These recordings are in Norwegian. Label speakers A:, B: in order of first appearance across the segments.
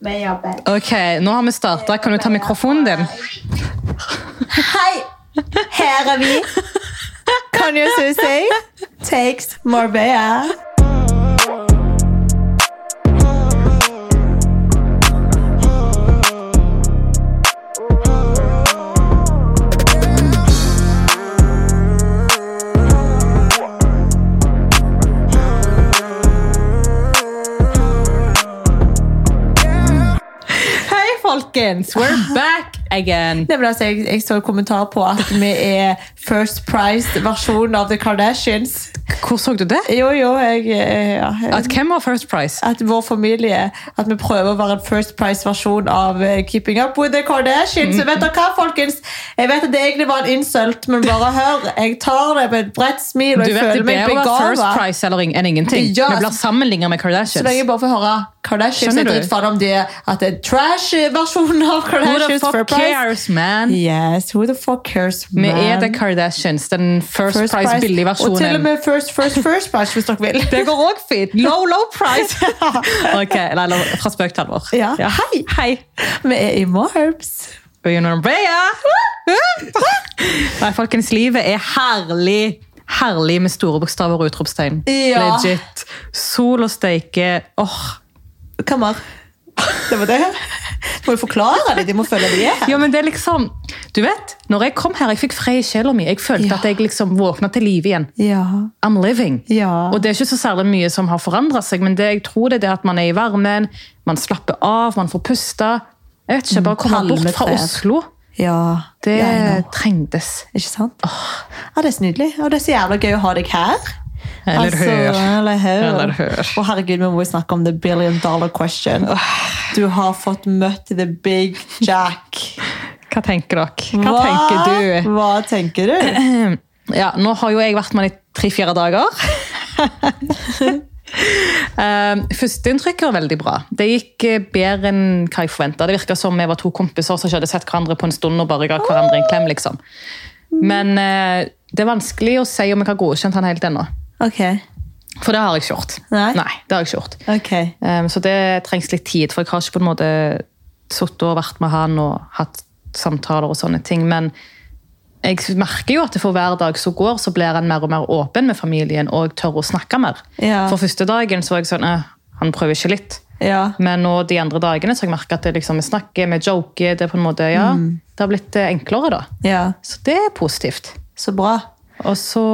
A: med jobben.
B: Ok, nå har vi startet. Kan du ta mikrofonen din?
A: Hei! Her er vi. Kanye Susi takes Marbella.
B: Hei, folkens! We're back again!
A: Det ble altså, jeg, jeg så en kommentar på at vi er First Price-versjonen av The Kardashians.
B: Hvor så du det?
A: Jo, jo, jeg, eh, ja, jeg
B: At hvem var first prize?
A: at vår familie At vi prøver å være en First Price-versjon av eh, Keeping Up With The Kardashians.
B: Mm.
A: Så vet dere hva, folkens? Jeg vet at det egentlig var en insult, men bare hør. Jeg tar det med et bredt smil, og
B: Du
A: jeg
B: vet det
A: føler meg
B: bedre å være first
A: begava.
B: prize eller ing- enn ingenting.
A: Ja,
B: Vi blir sammenlignet med
A: Så lenge
B: Kardashians.
A: jeg bare får høre Kardashians,
B: Skjønner
A: jeg
B: du?
A: driter faen om det at det er trash-versjonen av
B: Who the
A: Kardashians for
B: fuck
A: price.
B: cares, man?
A: Yes, who the fuck cares, man?
B: Vi er The Kardashians, den first,
A: First
B: prize
A: price,
B: billig
A: Og til og
B: versjonen.
A: med first, first, first price, hvis dere vil.
B: Det går også fint. Low, low price. ok, nei, la- fra spøk til alvor.
A: Ja.
B: Hei. Hei.
A: Vi er i Marbs.
B: Og Jon Arne Brea. Nei, folkens, livet er herlig. Herlig med store bokstaver og utropstegn.
A: Ja.
B: Legit. Sol og steike. Åh.
A: Kammer. Det var det. Må jo forklare det, de må føle det er.
B: Ja, men det er liksom Du vet, når jeg kom her, jeg fikk fred i sjela mi. Jeg følte
A: Ja.
B: at jeg liksom våkna til live igjen.
A: Ja.
B: I'm living.
A: Ja.
B: Og det er ikke så særlig mye som har forandret seg, men det jeg tror det er det at man er i varmen, man slapper av, man får puste. Jeg vet ikke, bare komme bort fra
A: palmetrær.
B: Oslo.
A: ja.
B: Det
A: Ja, jeg know.
B: trengtes.
A: Ikke sant? Ja, det er så nydelig. Og det er så jævla gøy å ha deg her. Altså,
B: Eller hør.
A: Eller hør.
B: Eller hør.
A: Og herregud, vi må jo snakke om the billion dollar question. Du har fått møtt the big jack.
B: Hva tenker dere? Hva tenker du?
A: Hva tenker du?
B: Ehm, Ja, nå har jo jeg vært med han i tre-fire dager. um, Førsteinntrykket var veldig bra. Det gikk eh, bedre enn hva jeg forventa. Det virka som vi var to kompiser som ikke hadde sett hverandre på en stund og bare ga hverandre en klem. liksom. Men eh, det er vanskelig å si om jeg har godkjent han helt ennå.
A: Ok.
B: For det har jeg ikke gjort.
A: Nei?
B: det har jeg ikke gjort.
A: Ok.
B: Um, så det trengs litt tid, for jeg har ikke på en måte sittet og vært med han og hatt samtaler og sånne ting. Men jeg merker jo at for hver dag som går, så blir han mer og mer åpen med familien og tør å snakke mer.
A: Ja.
B: For første dagen så var jeg sånn eh, Han prøver ikke litt.
A: Ja.
B: Men nå de andre dagene så har jeg merket at det liksom, vi snakker, vi joker. Det er på en måte, ja, det har blitt eh, enklere, da.
A: Ja.
B: Så det er positivt.
A: Så bra.
B: Og så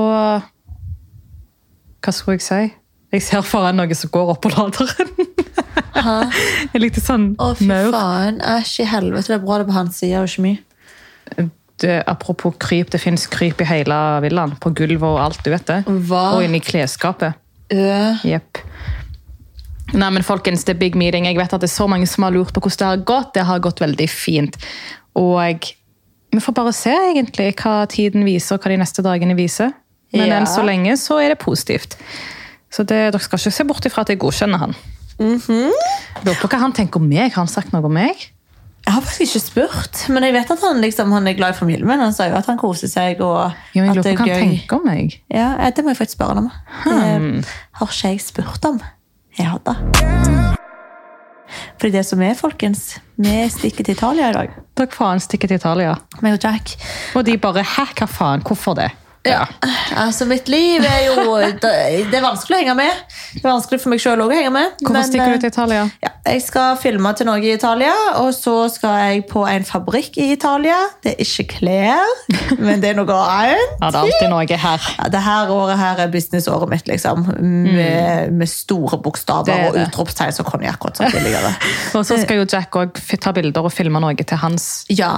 B: Hva skulle jeg si? Jeg ser foran noe som går oppå laderen. Jeg likte sånn
A: Å, fy
B: maur.
A: faen. Æsj i helvete. Det er bra det er på hans side og ikke mye.
B: Det, apropos kryp, det fins kryp i hele villaen. På gulvet og alt, du vet det.
A: Hva?
B: Og inni klesskapet.
A: Øh.
B: Jepp. Nei, men folkens, det er big meeting. Jeg vet at det er så mange som har lurt på hvordan det har gått. Det har gått veldig fint. Og vi får bare se egentlig hva tiden viser, og hva de neste dagene viser. Men
A: Ja.
B: enn så lenge så er det positivt. Så det, dere skal ikke se bort ifra at jeg godkjenner han.
A: Mhm.
B: Lurer på hva han tenker om meg. Har han sagt noe om meg?
A: Jeg har faktisk ikke spurt, men jeg vet at han, liksom, han er glad i familien min. Han sa jo at han koser seg, og
B: Jo, men jeg
A: at
B: lurer
A: det er
B: på hva han
A: gøy.
B: tenker Hmm. om meg.
A: Ja, eh, det må jeg faktisk spørre han om. Det har ikke jeg spurt om. Jeg har det. Fordi det som er, folkens, vi stikker til Italia i dag.
B: Dere faen stikker til Italia.
A: Meg og Jack.
B: Og de bare Hæ, hva faen? Hvorfor det? Ja.
A: Altså, mitt liv er jo Det det er vanskelig å henge med. Det er vanskelig for meg sjøl å henge med.
B: Hvorfor
A: men,
B: stikker
A: eh,
B: du til Italia?
A: Ja, jeg skal filme til noe i Italia, og så skal jeg på en fabrikk i Italia. Det er ikke klær, men det er noe annet.
B: Ja, det er alltid noe her.
A: Ja, det her året her er businessåret mitt, liksom. Med, med store bokstaver
B: Mm. Det er
A: og
B: det.
A: utropstegn som konjakk. og sånt tidligere.
B: Og så skal jo Jack òg ta bilder og filme noe til hans.
A: Ja,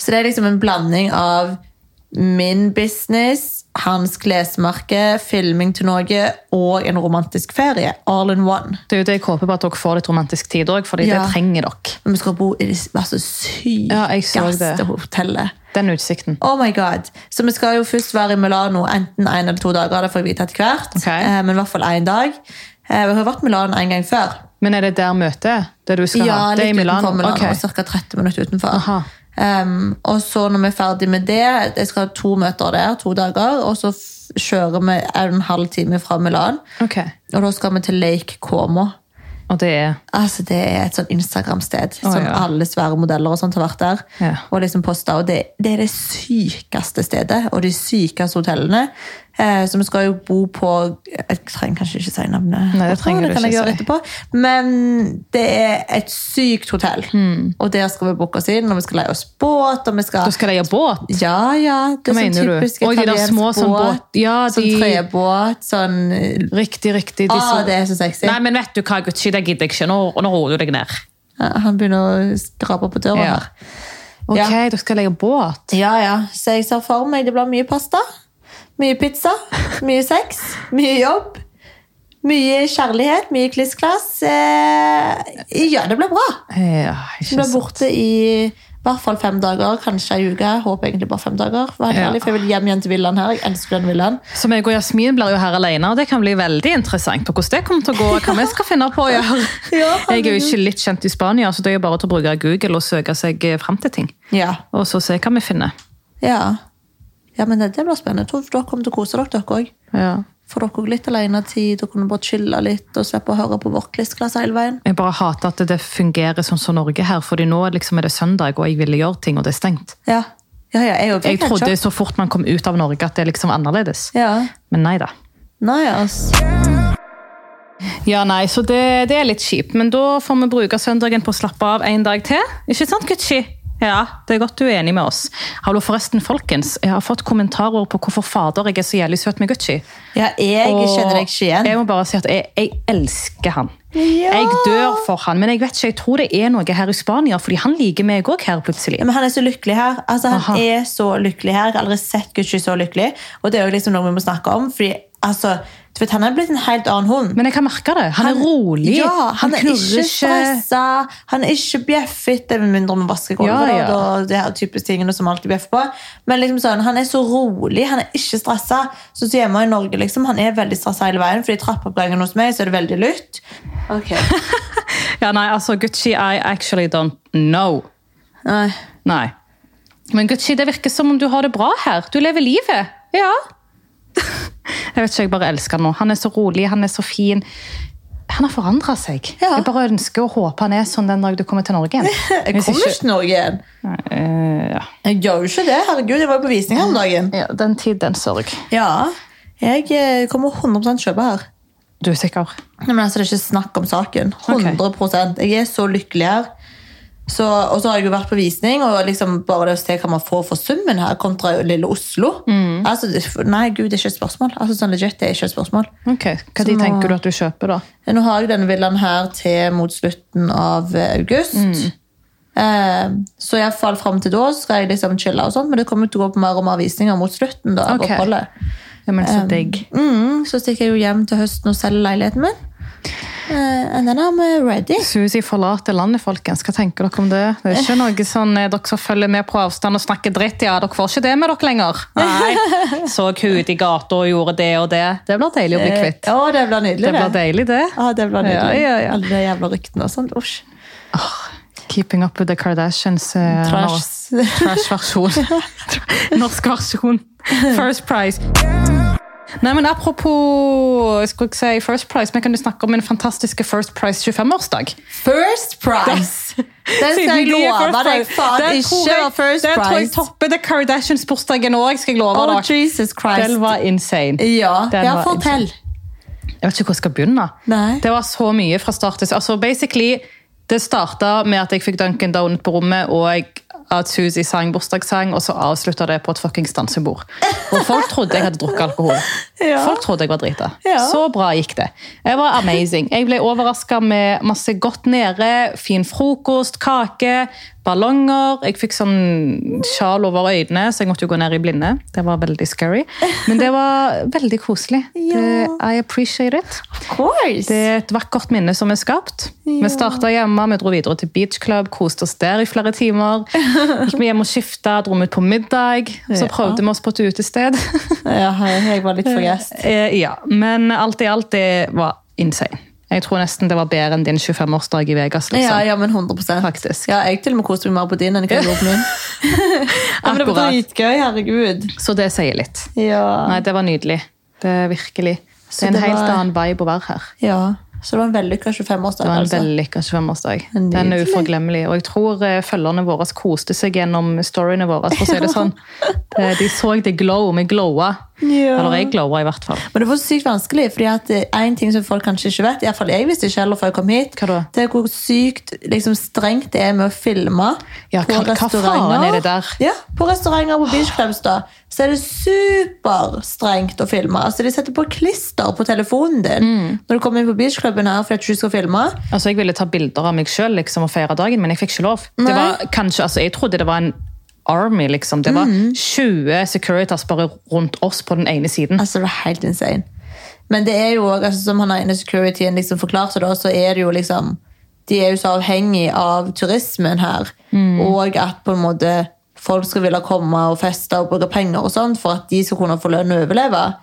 A: så det er liksom en blanding av min business, hans klesmerke, filming til Norge og en romantisk ferie. All in one.
B: Det er jo det jeg håper på at dere får litt romantisk tid òg, fordi
A: Ja.
B: det trenger dere.
A: Men vi skal bo i det altså, sykeste
B: Ja, jeg så det.
A: hotellet.
B: Den utsikten.
A: Oh my god. Så vi skal jo først være i Milano enten en eller to dager, det får jeg vite etter hvert.
B: Ok.
A: Eh, men i hvert fall én dag. Eh, vi har vært i Milano en gang før.
B: Men er det der møtet? Det du skal ha? Det er i Milano?
A: utenfor Milano,
B: Ok.
A: ca. 30 minutter utenfor.
B: Aha.
A: Em, og så når vi er ferdig med det, jeg skal ha to møter der, to dager, og så f kjører vi en halv time fra Milan.
B: Ok.
A: Og da skal vi til Lake Como.
B: Og det er
A: Altså, det er et sånn Instagram-sted
B: Å,
A: som
B: ja.
A: alle svære modeller og sånt har vært der.
B: Ja.
A: Og liksom posta, og det, det er det sykeste stedet, og de sykeste hotellene. Eh, så vi skal jo bo på Jeg trenger kanskje ikke si navnet.
B: Nei, det trenger
A: det
B: du
A: kan jeg
B: ikke
A: gjøre
B: si.
A: etterpå. Men det er et sykt hotell, og der skal vi booke oss inn, og vi skal leie oss båt, og vi
B: Da
A: skal
B: Hmm. skal de ha båt.
A: ja, ja. Det
B: Hva
A: er sånn
B: mener du?
A: typisk
B: Oi, de der
A: italiensk
B: små
A: båt.
B: sånn båt. Ja,
A: Sånn
B: de-
A: trebåt. Sånn
B: Riktig, riktig. de
A: Å,
B: som-
A: Ah, det er så sexy.
B: Nei, men vet du hva, Gucci, det gidder jeg ikke. Nå, nå roer du deg ned.
A: Ja, Han begynner å skrape på døra
B: Ja.
A: her.
B: Ok,
A: Ja.
B: dere skal legge båt.
A: Ja, ja. Så jeg ser for meg det blir mye pasta, mye pizza, mye sex, mye jobb. Mye kjærlighet, mye klissklass. Eh, ja, det blir bra.
B: Ja,
A: Vi
B: ah, ikke
A: blir
B: sant.
A: borte i i hvert fall fem dager, kanskje ei uke. Jeg Håper egentlig bare fem dager. for å være helt
B: Ja.
A: ærlig, For jeg vil hjem igjen til villaen her. Jeg elsker den villaen.
B: Så meg og Jasmin blir jo her alene, og det kan bli veldig interessant på hvordan det kommer til å gå. Hva vi skal finne på å gjøre.
A: Ja,
B: Jeg er jo ikke litt kjent i Spania, så det er jo bare til å bruke Google og søke seg eh, fram til ting.
A: Ja.
B: Og så se hva vi finner.
A: Ja. ja, men det, det blir spennende. Jeg tror dere kommer til å kose dere, dere òg.
B: Ja.
A: Får dere òg litt alenetid og kunne bare chille litt og slippe å høre på vårt klissglass hele veien.
B: Jeg bare hater at det fungerer sånn som Norge her, fordi nå liksom er det søndag, og jeg ville gjøre ting, og det er stengt.
A: Ja, ja, ja jeg òg
B: Jeg
A: fikk helt
B: trodde
A: sjokk.
B: så fort man kom ut av Norge at det er liksom annerledes.
A: Ja.
B: Men nei da.
A: Nei, altså.
B: Ja, nei, så det, det er litt kjipt. Men da får vi bruke søndagen på å slappe av en dag til. Ikke sant, Gucci? Ja, det er godt du er enig med oss. Hallo, forresten, folkens. Jeg har fått kommentarer på hvorfor fader jeg er så jævlig søt med Gucci.
A: Ja, jeg
B: Og
A: kjenner deg ikke igjen.
B: Jeg må bare si at jeg, jeg elsker han.
A: Ja.
B: Jeg dør for han, men jeg vet ikke, jeg tror det er noe her i Spania, fordi han liker meg òg her plutselig.
A: Ja, men han er så lykkelig her. Altså, han
B: Aha.
A: er så lykkelig her. Jeg har aldri sett Gucci så lykkelig. Og det er jo liksom noe vi må snakke om, fordi altså, du vet, han er blitt en helt annen hund.
B: Men jeg kan merke det. Han, er rolig.
A: Ja, han, er ikke
B: ikke.
A: stressa. Han er ikke bjeffete, med mindre vi vasker
B: Ja,
A: gulvet.
B: ja.
A: da, og Det her typisk tingene som alltid bjeffer på. Men liksom sånn, han er så rolig, han er ikke stressa. Så så hjemme i Norge, liksom, han er veldig stressa hele veien, fordi i trappeoppgangen hos meg så er det veldig lytt.
B: Ja, nei, altså, Gucci, I actually don't know.
A: Nei.
B: Nei. Men Gucci, det virker som om du har det bra her. Du lever livet. Ja. Jeg vet ikke, jeg bare elsker han nå. Han er så rolig, han er så fin. Han har forandra seg.
A: Ja.
B: Jeg bare ønsker og håper han er sånn den dag du kommer til Norge igjen.
A: Jeg
B: Hvis
A: kommer ikke til Norge igjen.
B: Nei, eh, ja.
A: Jeg gjør jo ikke det. Herregud, jeg var jo på visning her om dagen.
B: ja, den tid, den sorg.
A: Ja, jeg eh, kommer 100 kjøpe her.
B: Du er sikker?
A: Nei, men altså, det er ikke snakk om saken.
B: Ok.
A: 100 Jeg er så lykkelig her. Så, og så har jeg jo vært på visning, og liksom bare det å se hva man får for summen her, kontra lille Oslo
B: Mm.
A: altså, det- Nei, gud, det er ikke et spørsmål. Altså, sånn legit, det er ikke et spørsmål.
B: Ok, Hva de
A: må-
B: tenker du at du kjøper, da?
A: Nå har jeg denne villaen her til mot slutten av eh, august.
B: Mm.
A: Eh, så i hvert fall fram til da skal jeg liksom chille, og sånt, men det kommer til å gå på mer og mer visninger mot slutten. da, av
B: Ok.
A: oppholdet.
B: Ja, men så digg.
A: Mm, så stikker jeg jo hjem til høsten og selger leiligheten min. Eh, and then I'm eh, ready.
B: Susi forlater landet, folkens. Hva tenker dere om det? Det er ikke noe sånn eh, dere som følger med på avstand og snakker dritt. Ja, dere får ikke det med dere lenger. Nei. Så hun ute i gata og gjorde det og det. Det blir deilig å bli kvitt.
A: Eh, Å, det blir nydelig,
B: Det blir deilig, det.
A: Ja, det blir
B: Ja,
A: nydelig.
B: ja, ja.
A: Alle de jævla ryktene og sånt. Usch.
B: Ah. Keeping up with the Kardashians. eh,
A: Trash.
B: nor- Trash-versjon. Norsk versjon. First Price. Nei, men Apropos skulle jeg si First Price, vi kan jo snakke om min fantastiske First Price 25-årsdag.
A: First prize! Den skal jeg love deg faen
B: Den tror
A: ikke
B: jeg-
A: var first
B: Den tror jeg
A: prize.
B: topper The Kardashians-bursdagen òg, skal jeg love
A: Oh,
B: dere.
A: Jesus Christ.
B: Den var insane.
A: Ja,
B: Den
A: ja
B: var
A: fortell.
B: Jeg vet ikke hvor jeg skal begynne.
A: Nei.
B: Det var så mye fra start til altså, basically, Det starta med at jeg fikk Duncan Donut på rommet, og at Suzy sang bursdagssang, og så avslutta det på et fuckings dansebord. Og folk trodde jeg hadde drukket alkohol.
A: Ja.
B: Folk trodde jeg var drita.
A: Ja.
B: Så bra gikk det. Jeg var amazing. Jeg ble overraska med masse godt nede, fin frokost, kake, ballonger. Jeg fikk sånn sjal over øynene, så jeg måtte jo gå ned i blinde. Det var veldig scary. Men det var veldig koselig. Det, I appreciate it.
A: Of course.
B: Det er et vakkert minne som er skapt.
A: Ja.
B: Vi starta hjemme, vi dro videre til beach club, koste oss der i flere timer. Gikk vi hjem og skifta, dro vi ut på middag. Så
A: Ja.
B: prøvde vi oss på et utested.
A: Ja, jeg jeg var litt for gjest.
B: Eh, ja, Men alt i alt, det var insane. Jeg tror nesten det var bedre enn din 25-årsdag i Vegas. liksom.
A: Ja, ja, men 100
B: Faktisk.
A: Ja, Jeg til og med koste meg mer på din enn jeg gjorde på min. ja, men det var
B: Akkurat.
A: dritgøy. Herregud.
B: Så det sier litt.
A: Ja.
B: Nei, det var nydelig. Det er virkelig. Det
A: Så
B: er en
A: det
B: helt
A: var-
B: annen vibe å være her.
A: ja. Så det var en vellykka
B: Det
A: 25-årsdag.
B: var en
A: Altså.
B: vellykka 25-årsdag.
A: Nydelig.
B: Den er uforglemmelig. Og jeg tror eh, følgerne våre koste seg gjennom storyene våre. for å si det sånn. Det- De så det glow, vi glowa.
A: Ja.
B: Eller jeg glowa, i hvert fall.
A: Men det var så sykt vanskelig, fordi at eh, en ting som folk kanskje ikke vet, i hvert fall jeg visste ikke heller før jeg kom hit,
B: Hva da?
A: det er hvor sykt liksom, strengt det er med å filme
B: Ja,
A: på
B: hva- hva faen
A: restauranter.
B: er det der?
A: Ja, på restauranter på beachclubs da, så er det superstrengt å filme. Altså, de setter på klister på telefonen din
B: Mm.
A: når du kommer inn på beachclubben her fordi at du ikke skal filme.
B: Altså, Jeg ville ta bilder av meg sjøl liksom, og feire dagen, men jeg fikk ikke lov. Det var kanskje, altså, Jeg trodde det var en army, liksom. Det var
A: Mm.
B: 20 Securitas bare rundt oss på den ene siden.
A: Altså, det er helt insane. Men det er jo også, altså, som han har inne i securityen liksom forklarte, da, så er det jo liksom De er jo så avhengig av turismen her, og at på en måte folk skal ville komme og feste og bruke penger og sånn for at de skal kunne få lønn og overleve.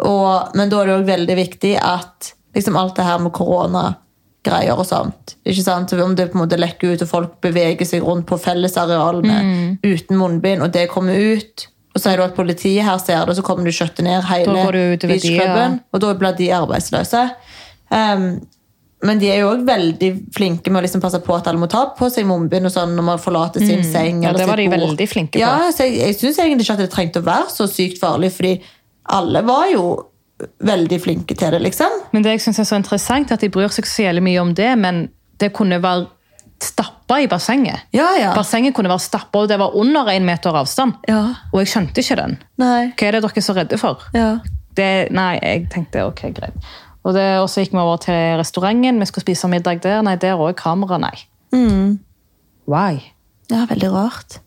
A: Og, men da er det òg veldig viktig at liksom alt det her med koronagreier og sånt ikke sant? Om det på en måte lekker ut og folk beveger seg rundt på fellesarealene
B: Mm.
A: uten munnbind, og det kommer ut og så er det at politiet her ser det, og så kommer du kjøttet ned hele
B: Da går det utover de, ja.
A: beachklubben, og da blir de arbeidsløse. Ehm, men de er jo også veldig flinke med å liksom passe på at alle må ta på seg munnbind og sånn når man forlater sin seng.
B: Ja,
A: eller
B: det var
A: sitt
B: de
A: bord.
B: veldig flinke på.
A: Ja, så jeg, jeg syns egentlig ikke at det trengte å være så sykt farlig, fordi alle var jo veldig flinke til det, liksom.
B: Men det jeg synes er så interessant, er at de bryr seg så jævlig mye om det, men det kunne være stappa i bassenget.
A: Ja, ja.
B: Bassenget kunne være stappa, og det var under én meter avstand.
A: Ja.
B: Og jeg skjønte ikke den.
A: Nei.
B: Hva er det dere er så redde for?
A: Ja.
B: Det, nei, jeg tenkte ok, greit. Og, det, og så gikk vi over til restauranten, vi skulle spise middag der. Nei, der òg. Kamera, nei.
A: Mm.
B: Why?
A: Ja, veldig rart.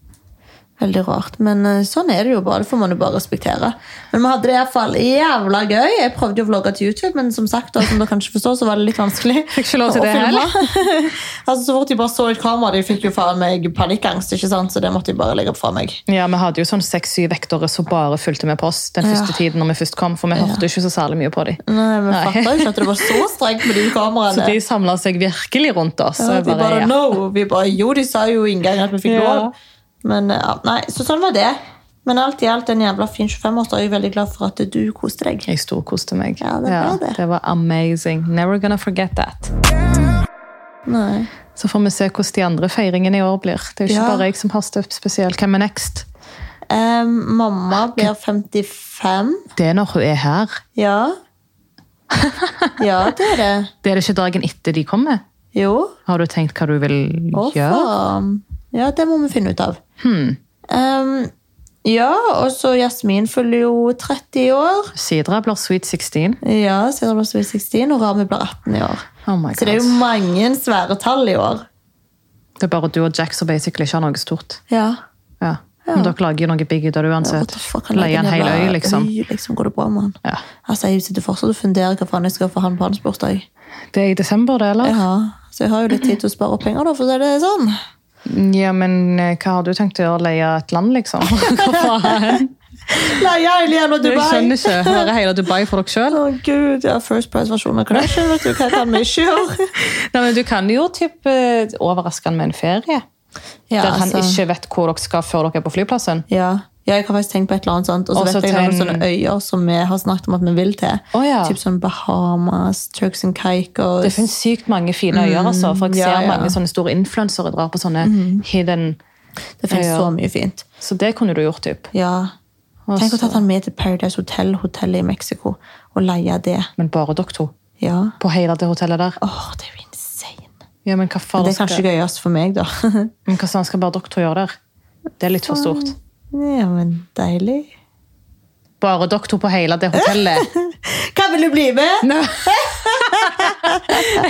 A: Veldig rart, men eh, sånn er det jo bare. Det får man jo bare respektere. Men vi hadde det i hvert fall jævla gøy. Jeg prøvde jo å vlogge til YouTube, men som sagt, da, som dere kanskje forstår, så var det litt vanskelig.
B: Fikk ikke lov til
A: å
B: det
A: filme.
B: heller.
A: altså, så fort de bare så et kamera, de fikk jo faen meg panikkangst, ikke sant? så det måtte de bare legge fra meg.
B: Ja, Vi hadde jo sånn seks-syv vektere som bare fulgte med på oss den første
A: Ja. Mm.
B: tiden når vi først kom, for vi hørte ikke så særlig mye på dem.
A: Nei, Vi
B: Nei.
A: fatta jo ikke at det var så strengt med de
B: Så
A: kameraene.
B: de samla seg virkelig rundt oss.
A: ja,
B: og jeg
A: de bare
B: ja.
A: no. Vi bare jo, de sa jo inngangen at vi fikk
B: Ja.
A: lov. Men eh, ja, nei, Så sånn var det. Men alt i alt en jævla fin 25-årsdag. Jeg er veldig glad for at du koste deg.
B: Jeg storkoste meg.
A: Ja, det var det.
B: det var amazing. Never gonna forget that.
A: Nei.
B: Så får vi se hvordan de andre feiringene i år blir. Det er jo ikke
A: Ja.
B: bare jeg som har støpt spesielt. Hvem er next?
A: Eh, mamma blir 55.
B: Det er når hun er her.
A: Ja. Ja, det er det.
B: Det er det ikke dagen etter de kommer.
A: Jo.
B: Har du tenkt hva du vil
A: Å,
B: gjøre?
A: faen. Ja, det må vi finne ut av.
B: Hmm.
A: Um, ja, og så Jasmin fyller jo 30 år.
B: Sidra blir Sweet 16.
A: Ja, Sandra blir 16, og Rami blir 18 i år.
B: Oh my
A: Så det er jo
B: God.
A: mange svære tall i år.
B: Det er bare du og Jack som basically ikke har noe stort.
A: Ja.
B: Ja. Men dere lager jo noe big ut av det
A: What
B: uansett.
A: the fuck, han
B: Leier en
A: legger
B: hel
A: ned
B: øy,
A: bare-
B: liksom.
A: Øy, liksom. Går det bra med han?
B: Ja.
A: Altså, Jeg sitter fortsatt og funderer hva faen jeg skal få han på hans bursdag.
B: Det er i desember, det, eller?
A: Ja, så jeg har jo litt tid til å spare opp penger, da, for å si det sånn.
B: Ja, men eh, hva har du tenkt å gjøre? Leie et land, liksom? Hvor faen?
A: Leie hele jævla
B: Jeg
A: Dubai.
B: skjønner ikke. Hører hele Dubai for dere sjøl?
A: Å gud, ja, First Price-versjonen av Kardashian. vet du hva jeg kan vi ikke gjøre?
B: Nei, men Du kan jo typ, eh, overraske han med en ferie.
A: Ja,
B: der han
A: altså.
B: ikke vet hvor dere skal før dere er på flyplassen.
A: ja. ja, jeg har faktisk tenkt på et eller annet sånt. Og så
B: Også
A: vet jeg
B: til
A: noen
B: en-
A: sånne øyer som vi har snakket om at vi vil til.
B: Å, ja.
A: Typ sånn Bahamas, Turks and Caicos.
B: Det finnes sykt mange fine øyer. altså, for
A: Mm,
B: Jeg
A: ja, Mhm.
B: ser
A: ja.
B: mange sånne store influensere drar på sånne hidden
A: Det finnes
B: Ja.
A: så mye fint.
B: Så det kunne du gjort, typ.
A: Ja.
B: Og
A: Tenk å ta
B: så-
A: han med til Paradise Hotel, hotellet i Mexico, og leie det.
B: Men bare dere to?
A: Ja.
B: På hele det hotellet der?
A: Åh, det er jo insane.
B: Ja, men hva faen
A: Det er kanskje
B: skal,
A: gøyest for meg, da.
B: men hva faen skal bare dere to gjøre der? Det er litt for stort.
A: ja, men deilig.
B: Bare dere to på hele det hotellet?
A: Hva vil du bli med?
B: Nå-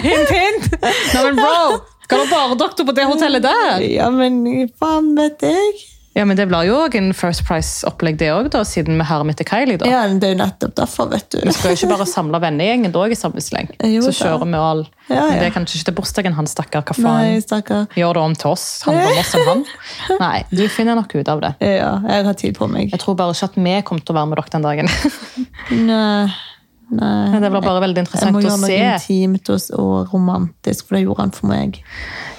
B: hint, hint! Nei, men bro! Skal det bare dere to på det hotellet der?
A: Ja, men faen vet jeg.
B: Ja, men Det blir jo òg en First Price-opplegg, det òg, siden vi hermer etter Kylie. da.
A: Ja, det er jo nettopp derfor, vet du.
B: Vi skal jo ikke bare samle vennegjengen da er jeg i samme sleng.
A: Jo
B: Så
A: da.
B: kjører vi all.
A: Ja,
B: Men det
A: ja.
B: er kanskje ikke til bursdagen hans, stakkar. Hva
A: Nei,
B: faen?
A: stakkar.
B: Gjør det om til oss. Handler om oss enn han. Nei, du finner nok ut av det.
A: Ja, jeg har tid på meg.
B: Jeg tror bare ikke at vi kommer til å være med dere den dagen.
A: Nei, Nei,
B: Men Det blir bare veldig
A: jeg
B: interessant
A: må
B: å
A: gjøre noe
B: se.
A: intimt og, og romantisk, for det gjorde han for meg.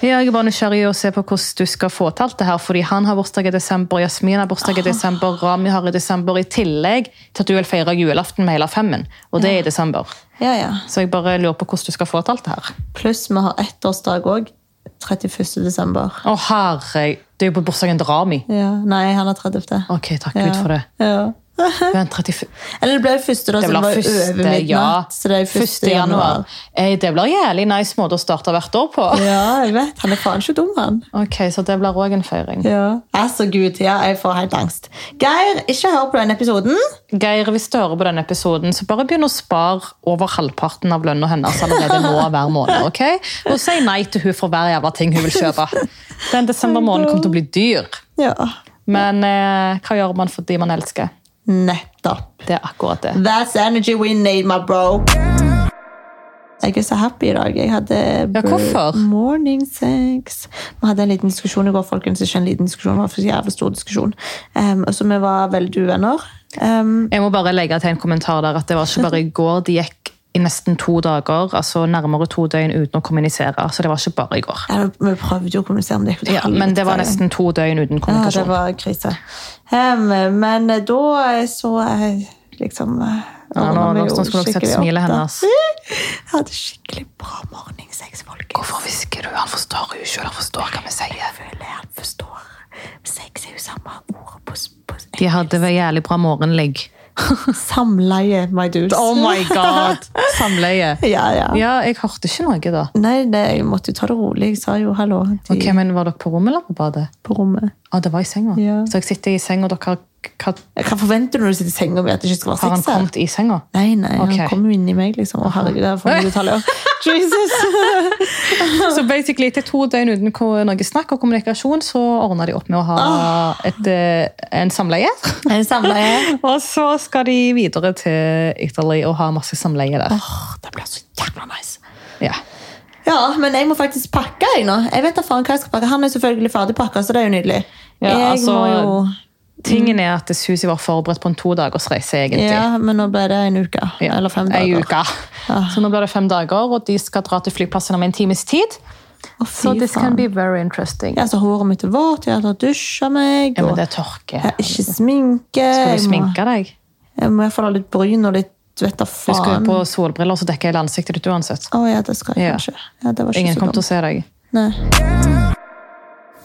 B: Ja, jeg er bare nysgjerrig å se på hvordan du skal få til alt det her. Fordi han har bursdag i desember, Jasmin har bursdag i desember, Rami har i desember. I tillegg til at du vil feire julaften med hele femmen. Og det er i desember.
A: Ja, ja.
B: Så jeg bare lurer på hvordan du skal få til alt det her.
A: Pluss vi har ettårsdag òg. 31. desember.
B: Å, herre, det er jo på bursdagen til Rami.
A: Ja. Nei, han er 30.
B: Ok, takk
A: Ja.
B: Gud for det.
A: Ja.
B: Men 35...
A: Eller det ble første, da,
B: Det
A: som
B: blir
A: var over
B: første,
A: midnatt.
B: ja.
A: Så det er 1.
B: Første januar. Eh, Det blir jævlig nice måte å starte hvert år på.
A: Ja, jeg vet. Han er faen ikke dum, han.
B: Ok, så det blir òg en feiring.
A: Ja. Altså, gud, Thea, jeg får helt angst. Geir, ikke hør på den episoden.
B: Geir, hvis du hører på denne episoden, så bare begynn å spare over halvparten av lønna hennes allerede nå hver måned. ok? Og si nei til hun for hver jævla ting hun vil kjøpe. Den desember måneden kommer til å bli dyr.
A: Ja.
B: Men eh, hva gjør man for de man elsker?
A: Nettopp.
B: Det er akkurat det.
A: That's energy we need, my bro. Jeg er så happy i dag. Jeg hadde
B: Ja, hvorfor?
A: morning sex. Vi hadde en liten diskusjon i går, folkens. Ikke en liten diskusjon, det var en jævlig stor diskusjon. Um, så vi var veldig uvenner. Um,
B: Jeg må bare legge til en kommentar der at det var ikke bare i går de gikk i nesten to dager, altså nærmere to døgn uten å kommunisere. Så det var ikke bare i går.
A: ja, vi prøvde jo å kommunisere, men det gikk jo til
B: Ja, men det var
A: helvete.
B: nesten to døgn uten
A: Ja, det
B: kommunikasjon.
A: var krise. Em, men da eh, så jeg liksom eh,
B: Ja, nå,
A: ordnet meg
B: nå,
A: jo
B: nå skulle dere sett
A: skikkelig
B: smilet
A: opp, da.
B: hennes.
A: Jeg hadde skikkelig bra morningsex, folk.
B: Hvorfor hvisker du? Han forstår jo selv, han forstår hva vi sier.
A: Føler jeg han forstår. Sex er jo samme ord på, på
B: De hadde vel jævlig bra morgenligg. Oh
A: Samleie, my dudes.
B: god! Samleie.
A: Ja, ja.
B: Ja, jeg hørte ikke noe da.
A: Nei, det, jeg måtte jo ta det rolig. Jeg sa jo hallo til
B: Ok, men Var dere på rommet eller på badet?
A: på rommet.
B: Ja, det var i senga.
A: Ja.
B: Så jeg sitter i senga, og dere har,
A: Hva forventer du når du sitter i senga og vet at det ikke skal
B: har
A: være
B: han
A: sex her?
B: kommet i senga?
A: Nei, nei,
B: Ok.
A: han kom jo inn i meg, liksom. Å, herregud, det er for mye detaljer. Jesus!
B: Så basically etter to døgn uten ko- noe snakk og kommunikasjon, så ordna de opp med å ha et, eh, en samleie.
A: En samleie.
B: Og så skal de videre til Italy og ha masse samleie der.
A: Åh, det blir så jævla nice.
B: Ja.
A: Ja, men jeg må faktisk pakke jeg nå. Jeg vet da faen hva jeg skal pakke. Han er selvfølgelig ferdig pakka, så det er jo nydelig.
B: Ja,
A: jeg
B: altså,
A: må jo...
B: Tingen er at Susi var forberedt på en todagersreise, egentlig.
A: Ja, men nå ble det en uke.
B: Ja,
A: Eller fem
B: Ei
A: dager.
B: uke. Så nå blir det fem dager, og de skal dra til flyplassen om en times tid.
A: Å,
B: Så
A: fy
B: this
A: faen.
B: can be very interesting.
A: Ja, så håret mitt er vårt, jeg har dusja meg,
B: Ja, men
A: og
B: det er tørke.
A: jeg har ikke sminke.
B: Skal
A: Jeg
B: du
A: må-
B: sminke deg?
A: Jeg må i hvert fall ha litt bryn og litt, vet da
B: Du skal jo
A: faen.
B: på solbriller, så dekker hele ansiktet ditt uansett.
A: Å ja, det skal jeg
B: Ja.
A: kanskje. Ja, det var ikke
B: Ingen
A: så
B: kommer til
A: dumt.
B: å se deg.
A: Nei.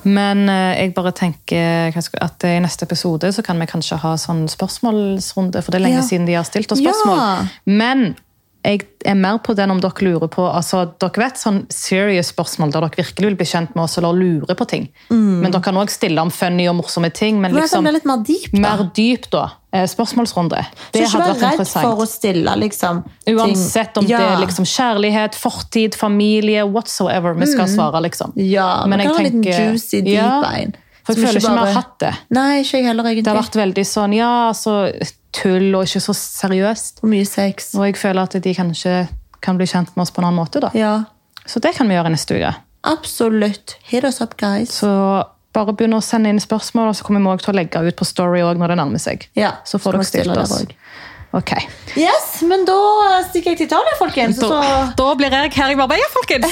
B: Men eh, jeg bare tenker hva skal- at i neste episode så kan vi kanskje ha sånn spørsmålsrunde, for det er lenge
A: Ja.
B: siden de har stilt oss spørsmål.
A: Ja.
B: Men jeg er mer på den om dere lurer på altså dere vet sånn serious spørsmål der dere virkelig vil bli kjent med oss eller lure på ting.
A: Mm.
B: Men dere kan òg stille om funny og morsomme ting, men
A: Men at den
B: liksom
A: blir litt mer deep, da.
B: mer dypt, da. Eh, Spørsmålsrunde.
A: Så
B: Det
A: ikke
B: hadde
A: vær
B: vært
A: redd for
B: interessant.
A: å stille liksom, ting-
B: Uansett om det er liksom kjærlighet, fortid, familie, whatsoever vi skal svare, liksom.
A: Mm. Ja,
B: Men
A: man
B: jeg
A: kan ha en liten
B: tenker-
A: juicy deep
B: Ja,
A: vein.
B: For
A: Som
B: jeg føler
A: ikke
B: ikke vi
A: bare-
B: har hatt det.
A: Nei, ikke jeg heller, egentlig.
B: Det har vært veldig sånn, ja, altså, tull og ikke så seriøst.
A: mye sex.
B: Og jeg føler at de kanskje kan bli kjent med oss på en annen måte, da.
A: Ja,
B: Så det kan vi gjøre neste uke.
A: absolutt. Hit us up, guys.
B: Så bare begynn å sende inn spørsmål, og så kommer vi også til å legge ut på story også når det nærmer seg.
A: Ja,
B: Så får
A: skal vi
B: dere
A: stille
B: stilt
A: der
B: oss.
A: også.
B: Ok.
A: Yes, men da stikker jeg til Italia, folkens. Så,
B: Da, da blir jeg her i Marbella, folkens!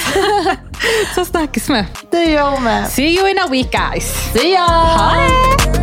B: så snakkes vi.
A: det gjør vi.
B: See you in a week, guys!
A: See ya!
B: Hei!